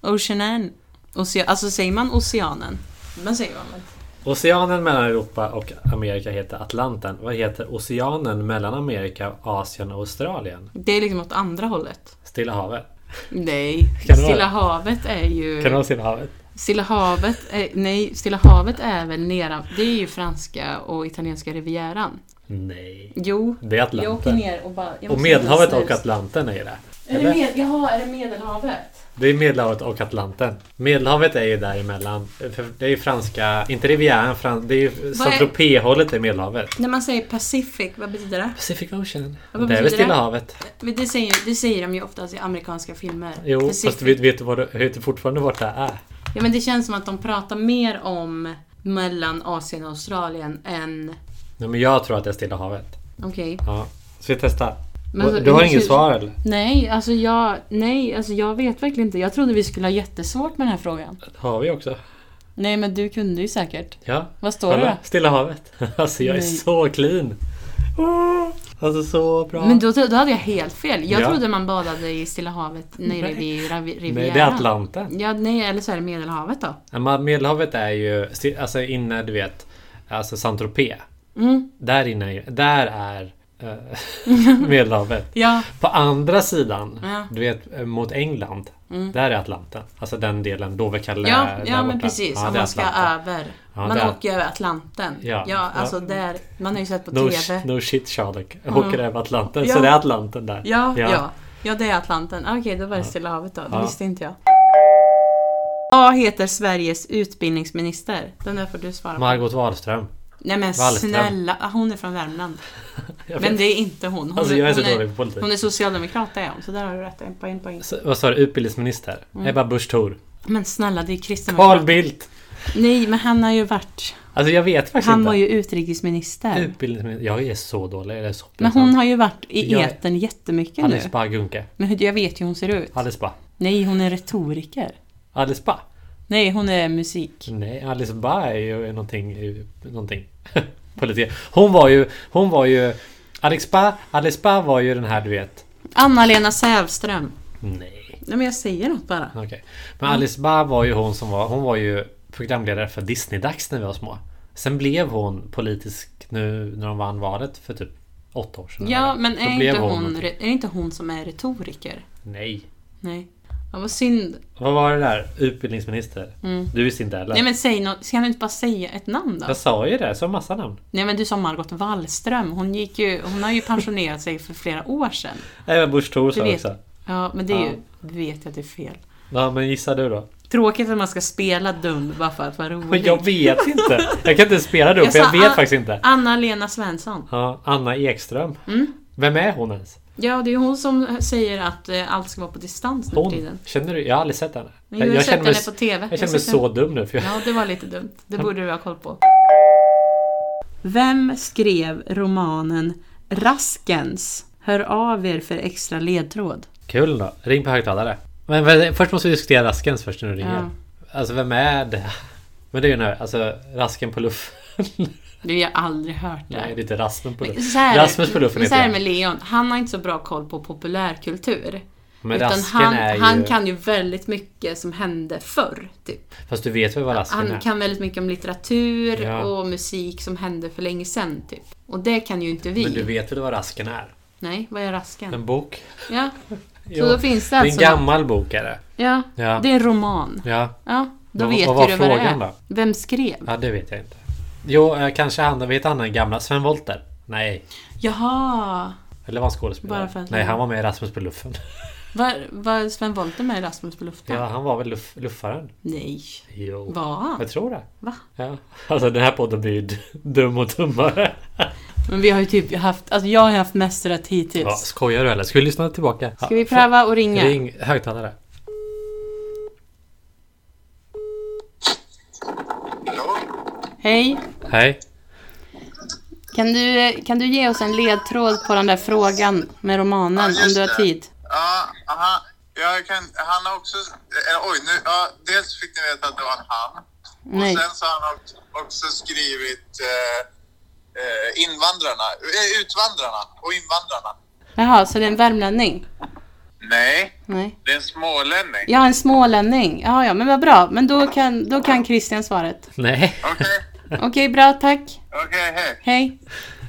Oceanen. Ocean, alltså säger man oceanen? Men säger man väl?
Oceanen mellan Europa och Amerika heter Atlanten. Vad heter oceanen mellan Amerika, Asien och Australien?
Det är liksom åt andra hållet.
Stilla havet.
Nej,
Kan det vara?
Stilla havet är ju...
Kan det vara Stilla havet?
Stilla havet, är, nej, Stilla havet är väl nedan... Det är ju franska och italienska rivieran.
Nej.
Jo,
Det är
jag åker
Atlanten.
ner och bara... jag
Och
måste
Medelhavet
snus.
och Atlanten är det.
Är det
Eller?
med, jaha, är det Medelhavet?
Det är Medelhavet och Atlanten. Medelhavet är ju däremellan. För Det är ju franska... Inte rivieran, fran, det är ju Saint-Tropez-hållet i Medelhavet.
När man säger Pacific, vad betyder det?
Pacific Ocean.
vad
Det är väl
betyder
Stilla
det?
havet?
Men det, säger, det säger de ju oftast i amerikanska filmer.
Jo,
Pacific.
fast vet, vet du vad det, vet du fortfarande vart det är?
Ja, men det känns som att de pratar mer om mellan Asien och Australien än...
Nej, men jag tror att det är Stilla havet.
Okej.
Ja. Ska vi testa?
Men så-
du har
men
inget
så-
svar eller?
Nej, alltså jag... Nej, alltså jag vet verkligen inte. Jag trodde vi skulle ha jättesvårt med den här frågan.
Det har vi också.
Nej, men du kunde ju säkert.
Ja.
Vad står
Kolla.
det
Stilla havet. [LAUGHS] Alltså jag är
Nej.
så clean. Åh, Alltså så
då?
bra.
Men då, då hade jag helt fel. Jag
Ja.
trodde man badade i Stilla havet nere
Nej.
vid Ravi- Rivieran.
Nej, det är Atlanten.
Ja, nej, eller så är det Medelhavet då.
Ja, men Medelhavet är ju sti- alltså inne, du vet, alltså Saint-Tropez.
Mm.
Där inne, är ju- där är eh,
[LAUGHS]
Medelhavet.
Ja.
På andra sidan,
Ja.
du vet eh, mot England,
Mm.
där är Atlanten. Alltså den delen, Dover-Calais.
Ja,
där
ja
borta.
men precis.
Ja,
om
det är
man ska
Atlanten.
över.
Ja,
man
där.
åker över Atlanten.
Ja.
Ja, alltså där. Man har ju sett på
No,
TV.
sh- no shit Sherlock.
Mm.
Åker över Atlanten. Så
Ja.
det är Atlanten där.
Ja,
Ja.
ja. ja. det är Atlanten. Ah, Okej, då var det Stilla havet då. Det
Ja.
visste inte jag. Vad heter Sveriges utbildningsminister? Den där får du svara på.
Margot Wallström.
Nej men
Wallström.
snälla, ah, hon är från Värmland.
Jag vet.
Men det är inte hon. hon
alltså jag är så
hon
dålig på politik.
Hon är socialdemokrat det är hon, så där har du rätt. En poäng, poäng.
Så, vad sa du? Utbildningsminister? Ebba Busch Thor.
Men snälla, det Mm. är kristdemokrat.
Carl Bildt!
Nej, men han har ju varit...
Alltså jag vet faktiskt
Han
inte.
var ju utrikesminister.
Utbildningsminister. Jag är så dålig. Det är så
Men hon har ju varit i
Typ, liksom. Jag-
etern jättemycket nu.
Alice Bah Gunke.
Men hur- jag vet ju hur hon ser ut.
Alice Bah.
Nej, hon är retoriker.
Alice Bah?
Nej, hon är musik.
Nej, Alice Bah är ju någonting... någonting. [LAUGHS] politik. Hon var ju... Hon var ju... Alice Bah, Alice Bah var ju den här du vet...
Anna-Lena Sävström.
Nej.
Nej, men jag säger något bara.
Okej. Men Alice Bah var ju hon som var... Hon var ju programledare för Disney-dags när vi var små. Sen blev hon politisk nu när de vann valet för typ åtta år sedan.
Ja,
eller?
men
Då
är
blev
inte, hon,
någonting.
re- är inte hon som är retoriker?
Nej.
Nej. Ja, vad synd.
Vad var det där? Utbildningsminister?
Mm.
Du visste inte heller?
Nej, men säg något. Ska du inte bara säga ett namn då?
Jag sa ju det, så massa namn.
Nej, men du sa Margot Wallström. Hon, gick ju, hon har ju pensionerat sig för flera år sedan.
Ebba Busch Thor
Du
sa
vet.
också.
Ja, men det är ju...
Ja.
Du vet att det är fel.
Ja, men gissa du då?
Tråkigt att man ska spela dum bara för att vara
Men
rolig.
jag vet inte. Jag kan inte ens spela det
Jag
för jag
sa
vet
a-
faktiskt inte.
Anna-Lena Svensson.
Ja, Anna Ekström.
Mm.
Vem är hon ens?
Ja, det är hon som säger att eh, allt ska vara på distans nu för
Hon?
tiden.
Känner du? Jag har aldrig sett henne.
Men jag har
jag
sett
känner
henne
mig,
på TV.
jag känner mig så Mm. dum nu. För jag,
Ja, det var lite dumt. Det borde du ha koll på. Vem skrev romanen Raskens? Hör av er för extra ledtråd.
Kul då. Ring på högtalare. Men, men först måste vi diskutera Raskens först när du ringer.
Ja.
Alltså vem är det? Men det är ju den här, alltså Rasken på luff. [LAUGHS]
Du, jag har aldrig hört det.
Nej, det är inte Rasmus på
Men
luff.
så här,
Rasmus på luffen
men så
heter
här
jag.
med Leon, han har inte så bra koll på populärkultur.
Men
utan
Rasken
han,
är ju...
han kan ju väldigt mycket som hände förr. Typ.
Fast du vet väl vad Rasken
Han
är?
kan väldigt mycket om litteratur
Ja.
och musik som hände för länge sedan. Typ. Och det kan ju inte vi.
Men du vet väl vad Rasken är?
Nej, vad är Rasken?
En bok?
Ja,
Jo.
så då finns det
Det är en
alltså...
gammal bok är det.
Ja,
Ja.
det är en roman.
Ja,
Ja, då
Vad-
vet
vad var
ju du vad det
frågan
är.
då?
Vem skrev?
ja det vet jag inte. Jo, eh, kanske han, vet han den gamla? Sven Wollter? Nej.
Jaha!
Eller var han skådespelare?
Bara för att-
Nej, han var med i Rasmus på luffen.
Var, var Sven Wollter med i Rasmus på luften?
Ja, han var väl luff, luffaren?
Nej.
Jo.
Var han?
Jag tror det.
Va?
Ja. Alltså den här podden blir ju d- dum och dummare.
Men vi har ju typ haft, alltså jag har ju haft mest rätt hittills.
Ja, skojar du eller? Ska vi lyssna tillbaka?
Ska vi pröva och ringa?
Ring högtalare.
Hallå?
Hej.
Hej.
Kan du, eh, kan du ge oss en ledtråd på den där frågan med romanen
Ja,
om
just
du har
det.
tid?
Ja, aha. Jag kan, han har också... eh, Oj, nu, ja, dels fick ni veta att det var en han.
Nej.
Och sen så har han ock- också skrivit eh, eh, invandrarna. eh, Utvandrarna och invandrarna.
Jaha, så det är en värmlänning?
Nej,
Nej.
det är en smålänning.
Ja, en smålänning. Ja, ja, men vad bra. Men då kan, då kan Christian
[LAUGHS]
svaret.
Nej,
Okej,
Okej, bra, tack.
okej, hej.
Hej.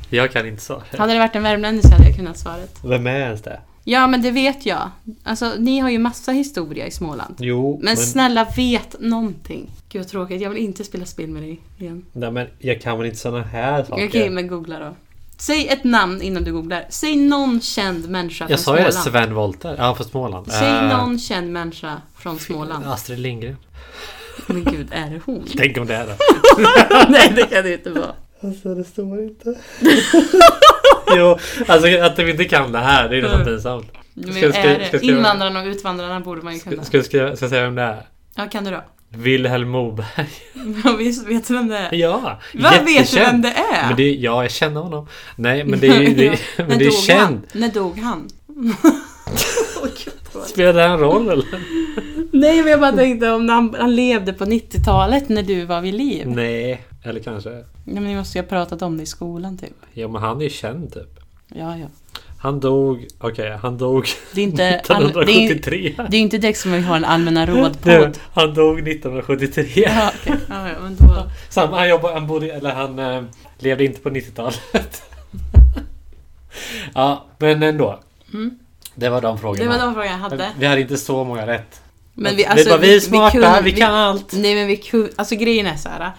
jag kan inte svara.
Hade det varit en värmlänning så hade jag kunnat svaret.
Vem är ens det?
Ja, men det vet jag. Alltså, ni har ju massa historia i Småland.
Jo,
Men, snälla, vet någonting. Gud, vad tråkigt. Jag vill inte spela spel med dig igen.
nej, men jag kan väl inte såna här saker?
Okej, men googla då. Säg ett namn innan du googlar. Säg någon känd människa från
Jag sa ju det,
Småland.
Sven Wollter. Ja, från Småland.
Säg
Eh,
någon känd människa från
[LAUGHS]
Småland.
Astrid Lindgren.
Men gud, är det
[LAUGHS]
hon?
Tänk om det är det.
Nej, det kan det inte vara.
Alltså det står inte. [LAUGHS] jo, alltså att vi inte kan det här, det är ju nästan pinsamt.
Men
Ska- ska-
är det?
ska- ska-
Invandrarna och utvandrarna borde man ju kunna.
Ska, ska, jag- ska jag säga vem det är?
Ja, kan du då? [LAUGHS]
Wilhelm Moberg. [LAUGHS]
Ja, visst vet du vem det är?
Ja,
Vad vet du
jättekänd.
vem det är?
Men det är, ja, jag känner honom. Nej, men det är ju det,
[LAUGHS] Ja.
men
När
det är
dog
känd.
Han? När dog
[LAUGHS]
han? Åh, gud, vad-
Spelar det här en roll eller?
Nej, men jag bara tänkte om han, han levde på 90-talet när du var vid liv. Nej.
Nej, eller kanske.
men ni måste ju ha pratat om det i skolan typ.
Ja, men han är ju känd typ.
Ja, ja.
Han dog, okej, han dog
Det är
[LAUGHS]
inte... all- det, är,
1973.
det är inte direkt som vi har en allmänna
Du, [LAUGHS]
råd-podd.
han dog 1973.
Ja, okej. ja, ja, men då...
Så han, han, jobbade, han, bodde, eller han eh, levde inte på 90-talet. [LAUGHS] ja, men ändå.
Mm.
Det var de frågorna.
Det var de frågorna jag hade.
Vi hade inte så många rätt.
Men vi,
det
alltså,
var vi, smarta,
kunde-
vi, kan allt.
Nej men vi kunde, alltså grejen är så här.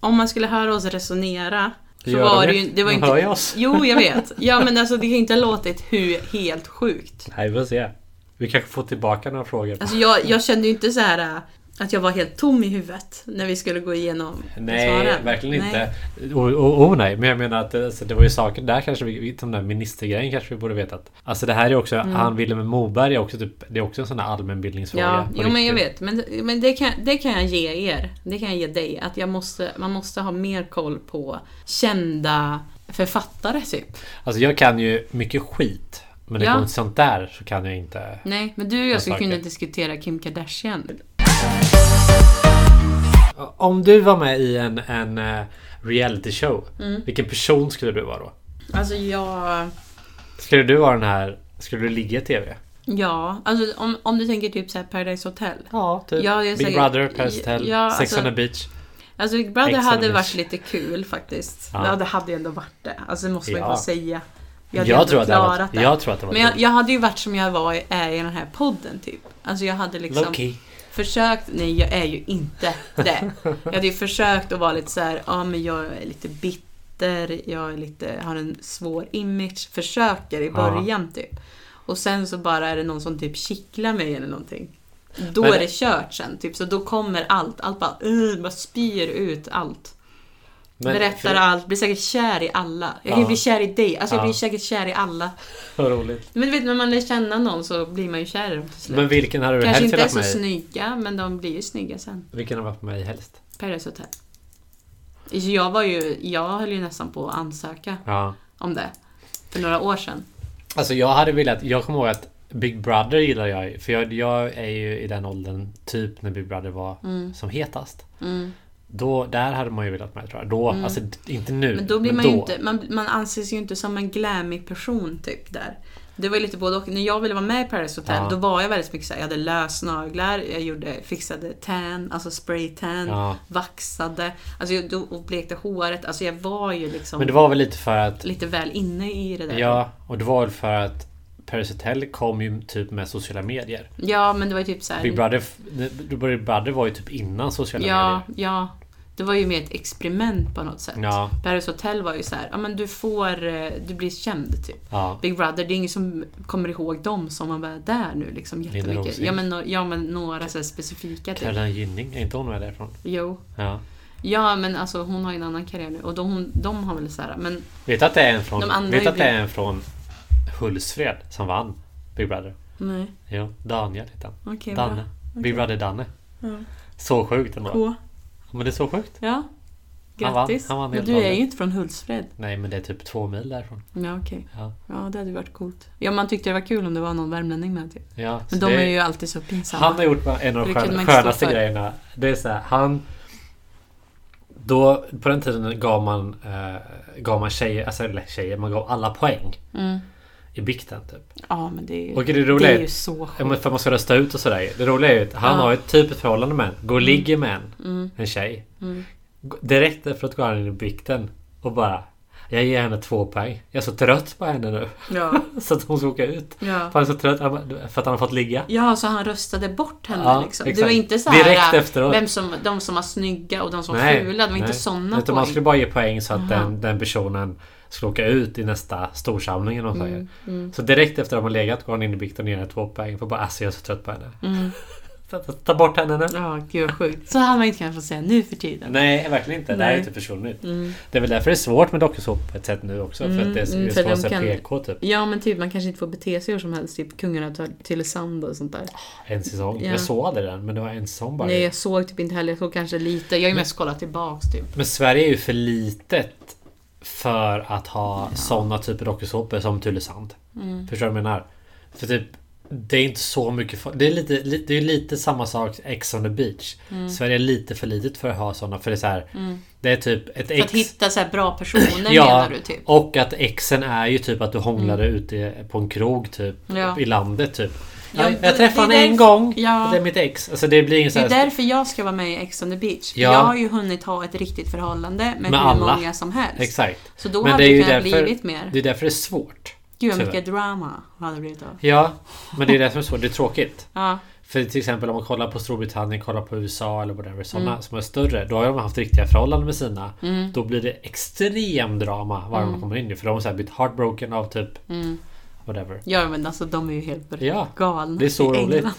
Om man skulle höra oss resonera så
Gör
var
de
det
det?
ju, det var
De
ju inte...
hör ju oss.
Jo, jag
[LAUGHS]
vet. Ja, men alltså det kan ju inte ha låtit hur helt sjukt.
Nej, vi får se. Vi kanske får tillbaka några frågor.
Alltså jag, jag kände ju inte så här äh, att jag var helt tom i huvudet när vi skulle gå igenom
Nej,
svaren.
verkligen
Nej.
inte. Oh, oh, oh nej, men jag menar att alltså, det var ju saker där kanske vi, vi- den där ministergrejen kanske vi borde vetat. Alltså det här är också,
Mm.
han Wilhelm Moberg är också typ, det är också en sån här allmänbildningsfråga.
Ja,
på
jo men jag
riktigt.
vet. Men, men det, kan, det kan jag ge er. Det kan jag ge dig. Att jag måste, man måste ha mer koll på kända författare typ.
Alltså jag kan ju mycket skit. Men det
Ja.
kommer till sånt där så kan jag inte.
Nej, men du och jag skulle
saker.
kunna diskutera Kim Kardashian.
Om du var med i en, en eh, reality show.
Mm.
Vilken person skulle du vara då?
Alltså jag...
Skulle du vara den här... Skulle du ligga i TV?
Ja, alltså om, om du tänker typ såhär Paradise Hotel.
Ja, typ.
Ja, jag
Big
säger-
Brother, Paris Hotel,
Ja,
Sex
alltså-
on the Beach.
Alltså Big Brother
Extra
hade
mys.
varit lite kul faktiskt.
Ja.
Ja. det hade ju ändå varit det. Alltså det måste man ju
Ja.
få säga. Vi hade ju
Jag
ändå
tror, att det hade
klarat
varit, jag tror att det var
Men jag, jag hade ju varit som jag var, i- är i den här podden typ. Alltså jag hade liksom
Low-key.
försökt, nej jag är ju inte det. Jag hade ju försökt att vara lite så här, ja men jag är lite bitter, jag är lite, har en svår image, försöker i
Ja.
början typ. Och sen så bara är det någon som typ kittlar mig eller någonting. Då
Men-
är det kört sen, typ. så då kommer allt, allt bara, uh, bara spyr ut allt.
Men-
Berättar allt, blir säkert kär i alla. Jag kan
Ja.
ju bli kär i dig, alltså jag
Ja.
blir säkert kär i alla.
Vad roligt.
Men du vet, när man lär känna någon så blir man ju kär i dem till slut.
Men vilken hade du
Kanske
helst
inte är
velat
så
vara med i?
snygga, men de blir ju snygga sen.
Vilken har varit med i helst?
Paradise Hotel. Alltså, Jag var ju, jag höll ju nästan på att ansöka
Ja.
om det. För några år sedan.
Alltså jag hade velat... Jag kommer ihåg att Big Brother gillar jag ju, För jag, jag är ju i den åldern typ när Big Brother var som hetast.
Mm.
Då, där hade man ju velat med tror jag. Då, alltså d- inte nu.
Men då blir man ju inte, man, man anses ju inte som en glammig person typ där. Det var ju lite både och. När jag ville vara med i Paradise Hotel,
Ja.
då var jag väldigt mycket såhär, jag hade lösnaglar, jag gjorde, fixade tan, alltså spraytan,
Ja.
vaxade, alltså jag, då, och blekte håret. Alltså jag var ju liksom
Men det var väl lite för att...
lite väl inne i det där.
Ja, och det var väl för att Paris Hotel kom ju typ med sociala medier.
Ja, men det var ju typ såhär...
Big Brother, Big Brother var ju typ innan sociala
Ja,
medier.
ja. Det var ju mer ett experiment på något sätt.
Ja.
Paris Hotel var ju så här, ja men du får, eh, du blir känd typ.
Ja.
Big Brother, det är ingen som kommer ihåg dem som var med där nu liksom jättemycket.
Rosling.
Ja men, no- ja men några så här specifika typ.
Caroline Gynning, är inte hon med därifrån?
Jo.
Ja.
Ja men alltså hon har ju en annan karriär nu och de, de har väl så här, men
Vet du att det är en
De
från,
andra
vet
är
du att det är
ju-
en från Hultsfred som vann Big Brother?
nej.
Jo, Daniel hette han.
Okej bra.
Danne. Big Brother Danne.
Ja.
Så sjukt ändå.
K.
Men det är så sjukt.
Ja.
Han vann-
Grattis.
han vann
men
helt
du är
vanligt.
ju inte från Hultsfred.
Nej men det är typ två mil därifrån.
Ja okej.
Ja.
Ja det hade ju varit coolt. Ja man tyckte det var kul om det var någon värmlänning med typ.
Ja, så
Men de
det-
är ju alltid så pinsamma.
Han har gjort en av
Det kunde
de
man
skön,
inte stå
skönaste
för.
grejerna. Det är så här, han... Då, på den tiden gav man, eh, gav man tjejer, alltså eller tjejer, man gav alla poäng
Mm.
i bikten typ.
Ja men det är ju,
Och det roliga
är ju
är,
så
ja, men
sjukt.
för att man ska rösta ut och sådär. Det roliga är ju att han
Ja.
har ett typ ett förhållande med en, går och ligger med en,
Mm.
en tjej.
Mm.
G- Direkt efteråt går han in i bikten och bara Jag ger henne två poäng. Jag är så trött på henne nu. [LAUGHS]
Ja.
Så att hon ska åka ut.
ja.
För han är så trött han bara, för att han har fått ligga.
Ja, så han röstade bort henne
Ja,
liksom. Det
exakt.
var inte så här,
Direkt
äh,
efteråt.
Vem som, de som var snygga och de som var
Nej,
fula, det var inte
nej.
sådana
Utan man
poäng.
skulle bara ge poäng så att
Jaha.
den, den personen skulle åka ut i nästa storsamling eller något
Mm,
mm. Så direkt efter att de har legat går han in i bikten och ger henne två poäng. För bara alltså jag är så trött på henne. [LAUGHS]
Mm.
Ta, ta, ta bort henne nu.
Ja, gud vad sjukt. Så hade man inte kunnat få säga nu för tiden.
Nej, verkligen inte. Det här
Nej.
är inte försvunnit.
Mm.
Det är väl därför det är svårt med dokusåpor på ett sätt nu också. för
Mm,
att det är så-
mm,
det är
för
så
de
massa
kan-
PK typ.
Ja, men typ man kanske inte får bete sig hur som helst. Typ Kungarna tar till sand och sånt där.
En säsong.
Ja.
Jag såg aldrig den, men det var en säsong bara.
Nej, jag såg typ inte heller. Jag såg kanske lite. Jag har ju mest kollat tillbaks typ.
Men Sverige är ju för litet för att ha sådana typer av dokusåpor som Tylösand.
Mm.
Förstår du vad jag menar? För typ, det är inte så mycket folk. Det är lite, li, det är lite samma sak Ex on the beach.
Mm.
Sverige är lite för litet för att ha sådana. För det är så här, Det är typ ett
För att
ex.
hitta så här bra
[CLEARS THROAT]
personer menar du typ? Mm.
och att exen är ju typ att du hånglade ute på en krog typ.
Ja.
I landet typ.
Ja,
Jag,
det-
jag träffade
det är
honom en
därför-
gång.
Ja.
och Det är mitt ex. Alltså det blir ingen så
Det är
här,
därför jag ska vara med i Ex on the beach.
Ja.
Jag har ju hunnit ha ett riktigt förhållande med,
Med
hur
alla.
många som helst.
Exakt.
Så då hade det kunnat blivit mer.
Det är därför det är svårt.
Gud vad
Tyvärr.
mycket drama det hade blivit av.
Ja, men det är det som är svårt. Det är tråkigt.
Ja,
För till exempel om man kollar på Storbritannien, kollar på USA eller whatever. Sådana
Mm.
som är större. Då har de haft riktiga förhållanden med sina. Då blir det extrem drama varje
Mm.
gång man kommer in i. För de har så här blivit heartbroken av typ whatever.
ja men alltså de är ju helt
Ja,
galna
Det är så
Mm, i
roligt.
England.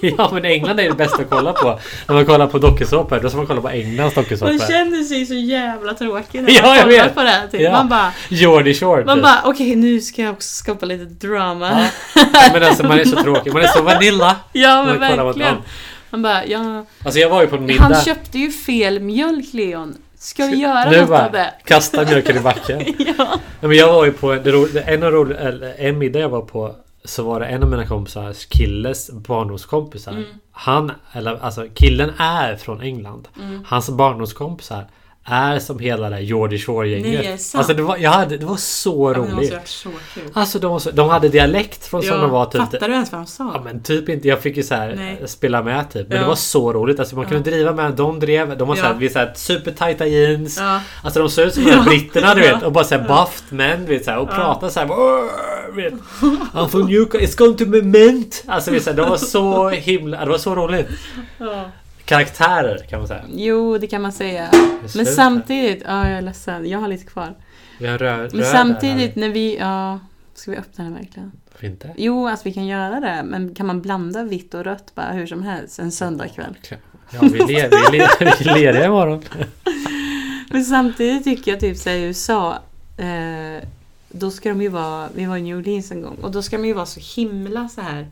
[LAUGHS] ja men England är det bästa att kolla på. När man kollar på dokusåpor, då ska man kolla på Englands
Man
dokusåpor.
känner sig så jävla tråkig
[LAUGHS]
när
Ja,
man
jag
kollar
vet.
på det här. Typ.
Ja.
Man bara,
Geordie Shore
man
typ.
bara okej nu ska jag också skapa lite drama.
Ja.
[LAUGHS] Ja,
Men alltså man är så tråkig. Man är så vanilla.
men
Man kollar på
verkligen.
dem.
Man bara, ja.
Alltså jag var ju på en middag.
Han köpte ju fel mjölk Leon. Ska vi göra
Nu
något
bara,
av det? [LAUGHS]
Kasta mjölken i backen.
Ja.
Nej, men jag var ju på en, det ro- det- en, av ro- eller en middag jag var på så var det en av mina kompisars killes barndomskompisar.
Mm.
Han, eller alltså killen är från England.
Mm.
Hans barndomskompisar är som hela det här Geordie
Nej, det är
Shore-gänget.
sant.
Alltså det var, jag hade, det var så
Men det måste ju
roligt.
varit så kul.
Alltså de, var så, de hade dialekt från som de var typ...
fattar du ens vad han sa?
Ja men typ inte. Jag fick ju så här
Nej.
spela med typ. Men
Ja.
det var så roligt. Alltså man kunde driva med. De drev. De var så här,
Ja.
vi så här supertajta jeans.
Ja.
Alltså de såg ut som de här
[LAUGHS] Ja.
britterna du
Ja.
vet. Och bara såhär bufft män. du Vet, så här, och pratade såhär. "Åh", vet. I'm from UK. It's going to be mint. Alltså vet, så här, de var så himla... Det var så roligt.
Ja.
Karaktärer kan man säga.
Jo, det kan man säga. Men
sluta.
samtidigt, ja jag är ledsen, jag har lite kvar.
Vi har röd,
Men
röd
samtidigt när vi, ja, ska vi öppna den verkligen?
Där. Inte?
Jo, alltså vi kan göra det, men kan man blanda vitt och rött bara hur som helst en söndagkväll?
Ja vi leder. Vi
[LAUGHS]
leder, vi leder imorgon.
Men samtidigt tycker jag typ såhär i USA, eh, då ska de ju vara, vi var i New Orleans en gång, och då ska de ju vara så himla så här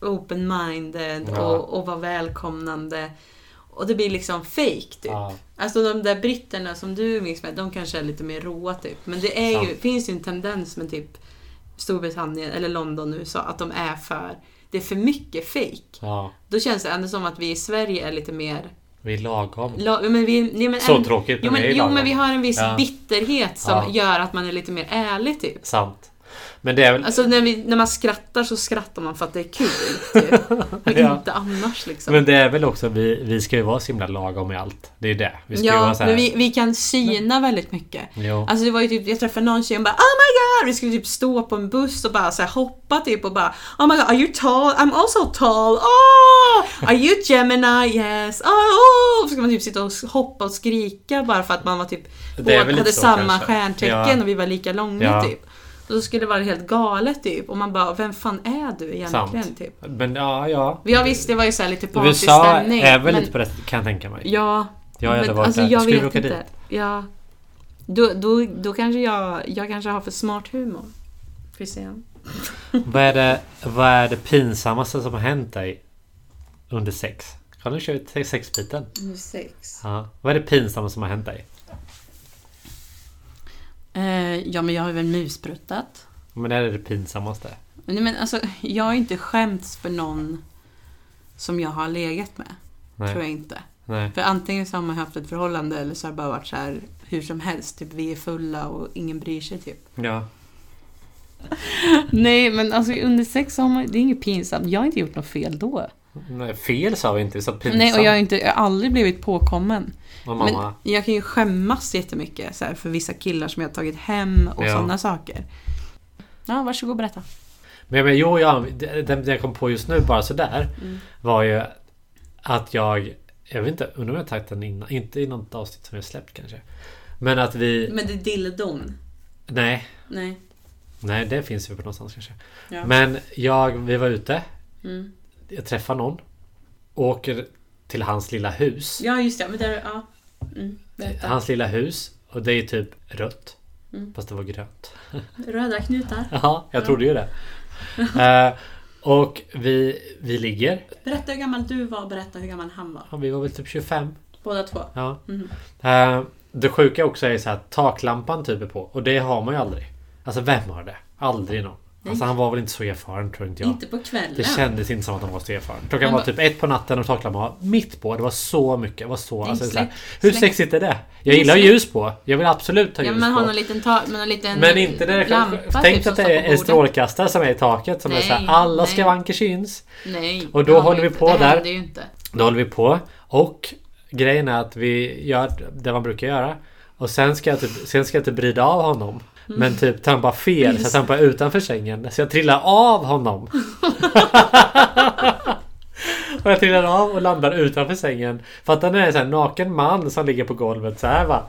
open-minded
Ja.
och, och vara välkomnande. Och det blir liksom fake typ.
Ja.
Alltså de där britterna som du umgicks med, de kanske är lite mer råa typ. Men det är ju,
Sant.
finns ju en tendens med typ Storbritannien eller London och USA att de är för, det är för mycket fake.
ja.
Då känns det ändå som att vi i Sverige är lite mer...
Vi är lagom.
La, men vi, nej, men
Så
en-
tråkigt,
Jo
men
men,
det är
jo,
lagom.
men vi har en viss
Ja.
bitterhet som
Ja.
gör att man är lite mer ärlig typ.
Sant. Men det är väl...
Alltså när, vi, när man skrattar så skrattar man för att det är kul.
[LAUGHS]
Typ. Och
Ja.
inte annars liksom.
Men det är väl också vi, vi ska ju vara så himla lagom i allt. Det är ju det. Vi ska ju vara
ja,
så här.
men vi, vi kan syna väldigt mycket.
Jo.
Alltså det var ju typ, jag träffade någon tjej och bara Oh my god! Vi skulle typ stå på en buss och bara så här, hoppa typ och bara Oh my god, are you tall? I'm also tall! Oh! Are you Gemini? Yes! Oh! oh! Och Så ska man typ sitta och hoppa och skrika bara för att man var typ
Det är
båda
väl lite
hade
så,
samma
kanske.
stjärntecken
Ja.
och vi var lika långa
Ja.
typ. Och då skulle det vara helt galet typ och man bara Vem fan är du egentligen?
Sant.
typ?
Men ja, ja.
Ja visst, det var ju så här lite
USA
partystämning.
är väl
men-
lite på det kan jag tänka mig.
Ja,
Jag hade
men
varit
alltså
där.
jag
Skulle
vet
vi åka
inte.
dit?
Ja. Då, då, då kanske jag, jag kanske har för smart humor. Får vi se.
Vad är, det, vad är det pinsammaste som har hänt dig under sex? Ja, nu kör vi till sexbiten.
Nu sex.
Ja. Vad är det pinsamma som har hänt dig?
Eh, ja, men jag har väl muspruttat.
Men det här är det pinsammaste.
Men, men alltså, jag har inte skämts för någon som jag har legat med.
Nej.
Tror jag inte.
Nej.
För antingen så har man haft ett förhållande eller så har det bara varit så här hur som helst. Typ vi är fulla och ingen bryr sig typ.
Ja.
[LAUGHS] Nej, men alltså under sex har man, det är inget pinsamt. Jag har inte gjort något fel då.
Nej, fel sa vi inte. Vi sa pinsamt.
Nej, och jag har, inte, jag har aldrig blivit påkommen.
Och mamma.
Men jag kan ju skämmas jättemycket så här, för vissa killar som jag har tagit hem och
Ja.
sådana saker. Ja, varsågod berätta.
Men, men jo, ja, det, det det jag kom på just nu bara sådär
Mm.
var ju att jag... Jag vet inte, undrar om jag har tagit den innan. Inte i något avsnitt som jag släppt kanske. Men att vi...
Men det är dildon.
Nej,
Nej.
nej det finns ju på någonstans kanske.
Ja.
Men jag, vi var ute.
Mm.
Jag träffar någon. Åker till hans lilla hus.
Ja, just det. Men där, ja. Mm.
Hans lilla hus. Och det är typ rött. Fast det var grönt. [LAUGHS]
Röda knutar.
Ja, jag trodde ju det. Eh, och vi, vi ligger.
Berätta hur gammal du var och berätta hur gammal han var.
Ja, vi var väl typ 25.
Båda två.
Ja. Eh, det sjuka också är så här att taklampan typ är på. Och det har man ju aldrig. Alltså vem har det? Aldrig någon. Alltså han var väl inte så erfaren tror inte jag.
Inte på kvällen.
Det kändes inte som att de var så erfarna. Klockan
Men
var
va-
typ ett på natten och taklampan var mitt på. Det var så mycket. Det var så,
är
alltså,
inte
så här,
släck-
hur
släck-
sexigt är det? Jag
är
gillar
släck-
ljus på. Jag vill absolut ha
ja,
ljus
men man har någon
på.
liten, ta- men någon liten
Men inte när det
lampa typ,
Tänk
som
att
står
det
på
är en
bordet.
strålkastare som är i taket. Som är så här,
Nej,
alla
nej.
skavanker syns.
Nej.
Och
det
då
har man
håller vi
inte.
på
Det
där.
händer ju inte. [LAUGHS]
Då håller vi på. Och grejen är att vi gör det man brukar göra. Och sen ska jag typ, sen ska jag typ rida av honom. Men typ trampar fel så jag trampar utanför sängen. Så jag trillar av [LAUGHS] honom. och jag trillar av och landar utanför sängen. Fattar ni? En sån här naken man som ligger på golvet så här [LAUGHS] va.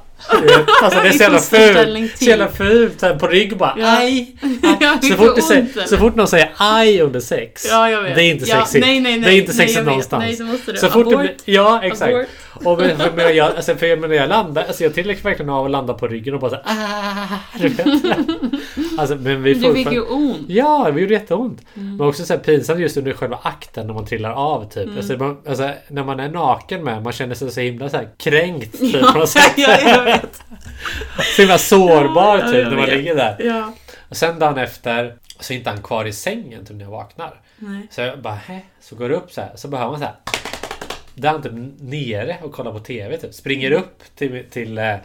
Alltså det är så jävla
I fosterställning
fult. Så jävla fult. Så här på rygg bara.
Ja.
Aj!
Ja, det
Så
gör
fort, det
ont,
säger,
eller?
så fort någon säger aj under sex.
Ja, jag vet.
Det är inte
Ja,
sexigt.
nej, nej, nej.
det är inte
Nej,
sexigt
jag vet.
någonstans.
Nej, så måste det.
Så fort det
Abort.
blir, ja, exakt.
Abort.
Och men, för, men jag, alltså, för jag, men jag landar, alltså, jag trillar verkligen av och landar på ryggen och bara såhär ah, du
[LAUGHS]
vet. Alltså, men vi
Du fick
fortfarande...
ju Mm. ont.
Ja, det gjorde jätteont. Men också så här pinsamt just under själva akten när man trillar av
Mm.
typ. Alltså, man, alltså, när man är naken med, man känner sig så himla så här, kränkt. Typ, på något sätt.
[LAUGHS] ja, jag vet.
[LAUGHS] Så himla sårbar
Ja,
typ
jag
när man
vet.
ligger där.
Ja.
Och sen dagen efter så är inte han kvar i sängen typ, när jag vaknar.
Nej.
Så jag bara, hä? Så går det upp så här. Så behöver man så här. Där är han typ nere och kollar på TV typ. Springer
Mm.
upp till, till eh, när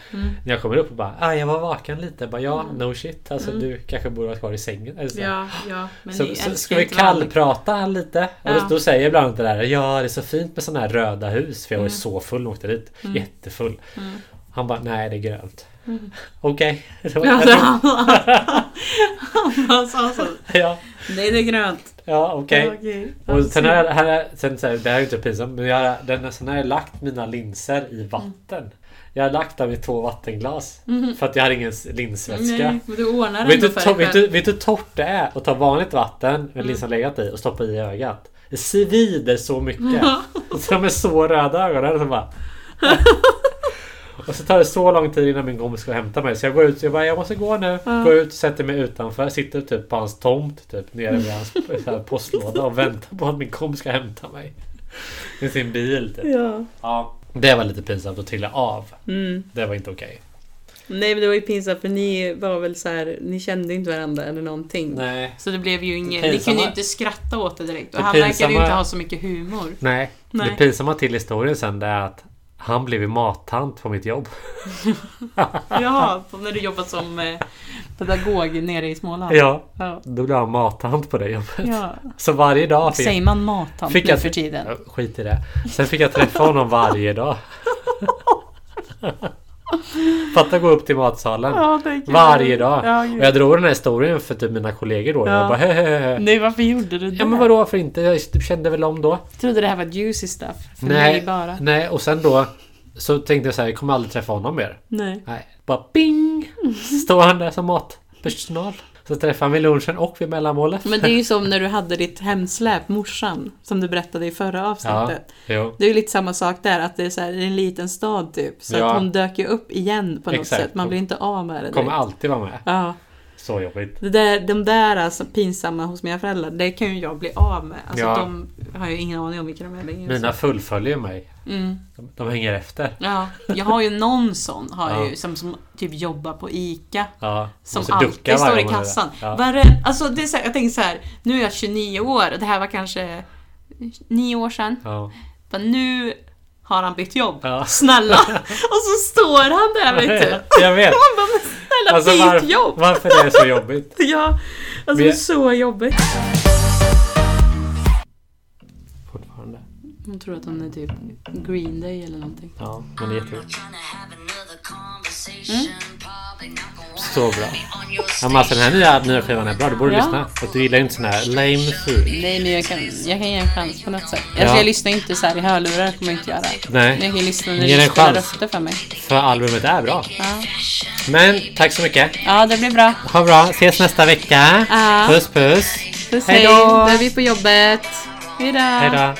jag kommer upp och bara ah, jag var vaken lite. Bara, ja, no shit. Alltså du kanske borde vara kvar i sängen. Eller så. här.
Mm. Ja, ja. Men
Så,
ni
så ska
älskar
vi
inte varandra.
kallprata lite? Och
Ja.
då, då säger jag ibland inte det där Ja det är så fint med såna här röda hus För jag var
Mm.
ju så full när jag åkte dit Jättefull Han bara nej det är grönt Okej [LAUGHS] Det var-
Mm. Ja, det- han bara- han bara sa så.
Ja,
Nej, det är grönt.
ja okej
Okej.
Och sen har jag, här är, sen, så här, det här är ju inte pinsamt, men jag, har- den, sen har jag lagt mina linser i vatten. Jag har lagt dem i två vattenglas. För att jag hade ingen s- linsvätska.
Nej, men du ordnar
Vet
ändå
du,
för
to,
dig
vet,
själv.
du, vet du hur torrt det är att ta vanligt vatten med linsen legat i och stoppa i ögat? Det svider så mycket. så de är så röda ögonen. Så bara... och så tar det så lång tid innan min kompis ska hämta mig. Så jag går ut jag bara, jag måste gå nu. Går ut, sätter mig utanför. Sitter typ på hans tomt. Typ nere vid hans så här, postlåda och väntar på att min kompis ska hämta mig. Med sin bil typ.
Ja.
Ja. Det var lite pinsamt att trilla av.
Mm.
Det var inte okej.
Nej, men det var ju pinsamt för ni var väl så här, ni kände inte varandra eller någonting.
Nej.
Så det blev ju inget,
Det
ni kunde
pinsamma-
ju inte skratta åt det direkt. Och
Det
han verkade ju
pinsamma-
inte ha så mycket [LAUGHS] humor.
Nej.
Nej.
Det pinsamma till historien sen det är att han blev ju mattant på mitt jobb.
Ja, när du jobbat som eh, pedagog nere i Småland.
Ja,
Ja.
då blir han mattant på det jobbet.
ja.
Så varje dag fick
Säger man mattant
Fick
nu
jag-
för tiden?
Ja, Skit i det. Sen fick jag träffa honom
[LAUGHS]
varje dag. Fatta gå upp till matsalen.
Ja, det är kul.
Varje dag.
Ja,
Och
gud.
jag drog den här historien för typ mina kollegor då.
Ja.
Jag bara hehehe.
Nej, varför gjorde du det?
Ja men vadå varför inte? Jag kände väl om då.
Jag trodde det här var juicy stuff. För
Nej.
mig bara.
Nej och sen då. Så tänkte jag så här, jag kommer aldrig träffa honom mer.
Nej.
Nej. Bara bing! Står han där som matpersonal. Så träffar han vid lunchen och vid mellanmålet.
Men det är ju som när du hade ditt hemsläp, morsan, som du berättade i förra
Ja,
avsnittet.
[LAUGHS] jo.
Det är ju lite samma sak där, att det är så här, det är en liten stad typ. Så
Ja.
att hon dök ju upp igen på något
Exakt.
sätt. Man blir inte av med det.
Kommer
direkt.
alltid vara med.
Ja.
Så jobbigt.
Det där, de där alltså, pinsamma hos mina föräldrar, det kan ju jag bli av med. Alltså,
Ja.
De har ju ingen aning om vilka de är längre.
Mina fullföljer mig.
Mm.
De, de hänger efter.
Ja, jag har ju någon sån har jag
Ja.
ju, som, som typ jobbar på ICA.
Ja,
Som
måste ducka
alltid står
varje
i
gång det där.
kassan.
Ja.
Vare, alltså det är så här, jag tänker så här, nu är jag 29 år och det här var kanske nio år sedan.
Ja.
Men nu har han bytt jobb.
Ja. [LAUGHS]
Snälla! Och så står han där vet du.
Jag vet.
Man bara, men snälla
Alltså,
byt
varf-
jobb!
Varför det är så jobbigt.
Ja, alltså
Men-
det är så jobbigt.
Fortfarande.
Hon tror att hon är typ Green Day eller någonting.
Ja, men det är jättejobbigt.
Så bra.
Ja, men alltså den här nya, nya skivan är bra. Du borde
Ja.
lyssna. För att du gillar ju inte sån här lame food.
Nej, men jag kan, jag kan ge en chans på något sätt. Alltså,
Ja.
Jag lyssnar inte så här i hörlurar, kommer jag inte göra. Men
Nej,
jag kan ju lyssna när
Ge
du
den en
spelar
chans.
röster för mig.
för albumet är bra. Men tack så mycket.
Ja, det blir bra.
Ha bra. Ses nästa vecka.
Ja.
Puss puss.
Puss
Hej
hej!
då.
Då är vi på jobbet. Hej då!
Hej då.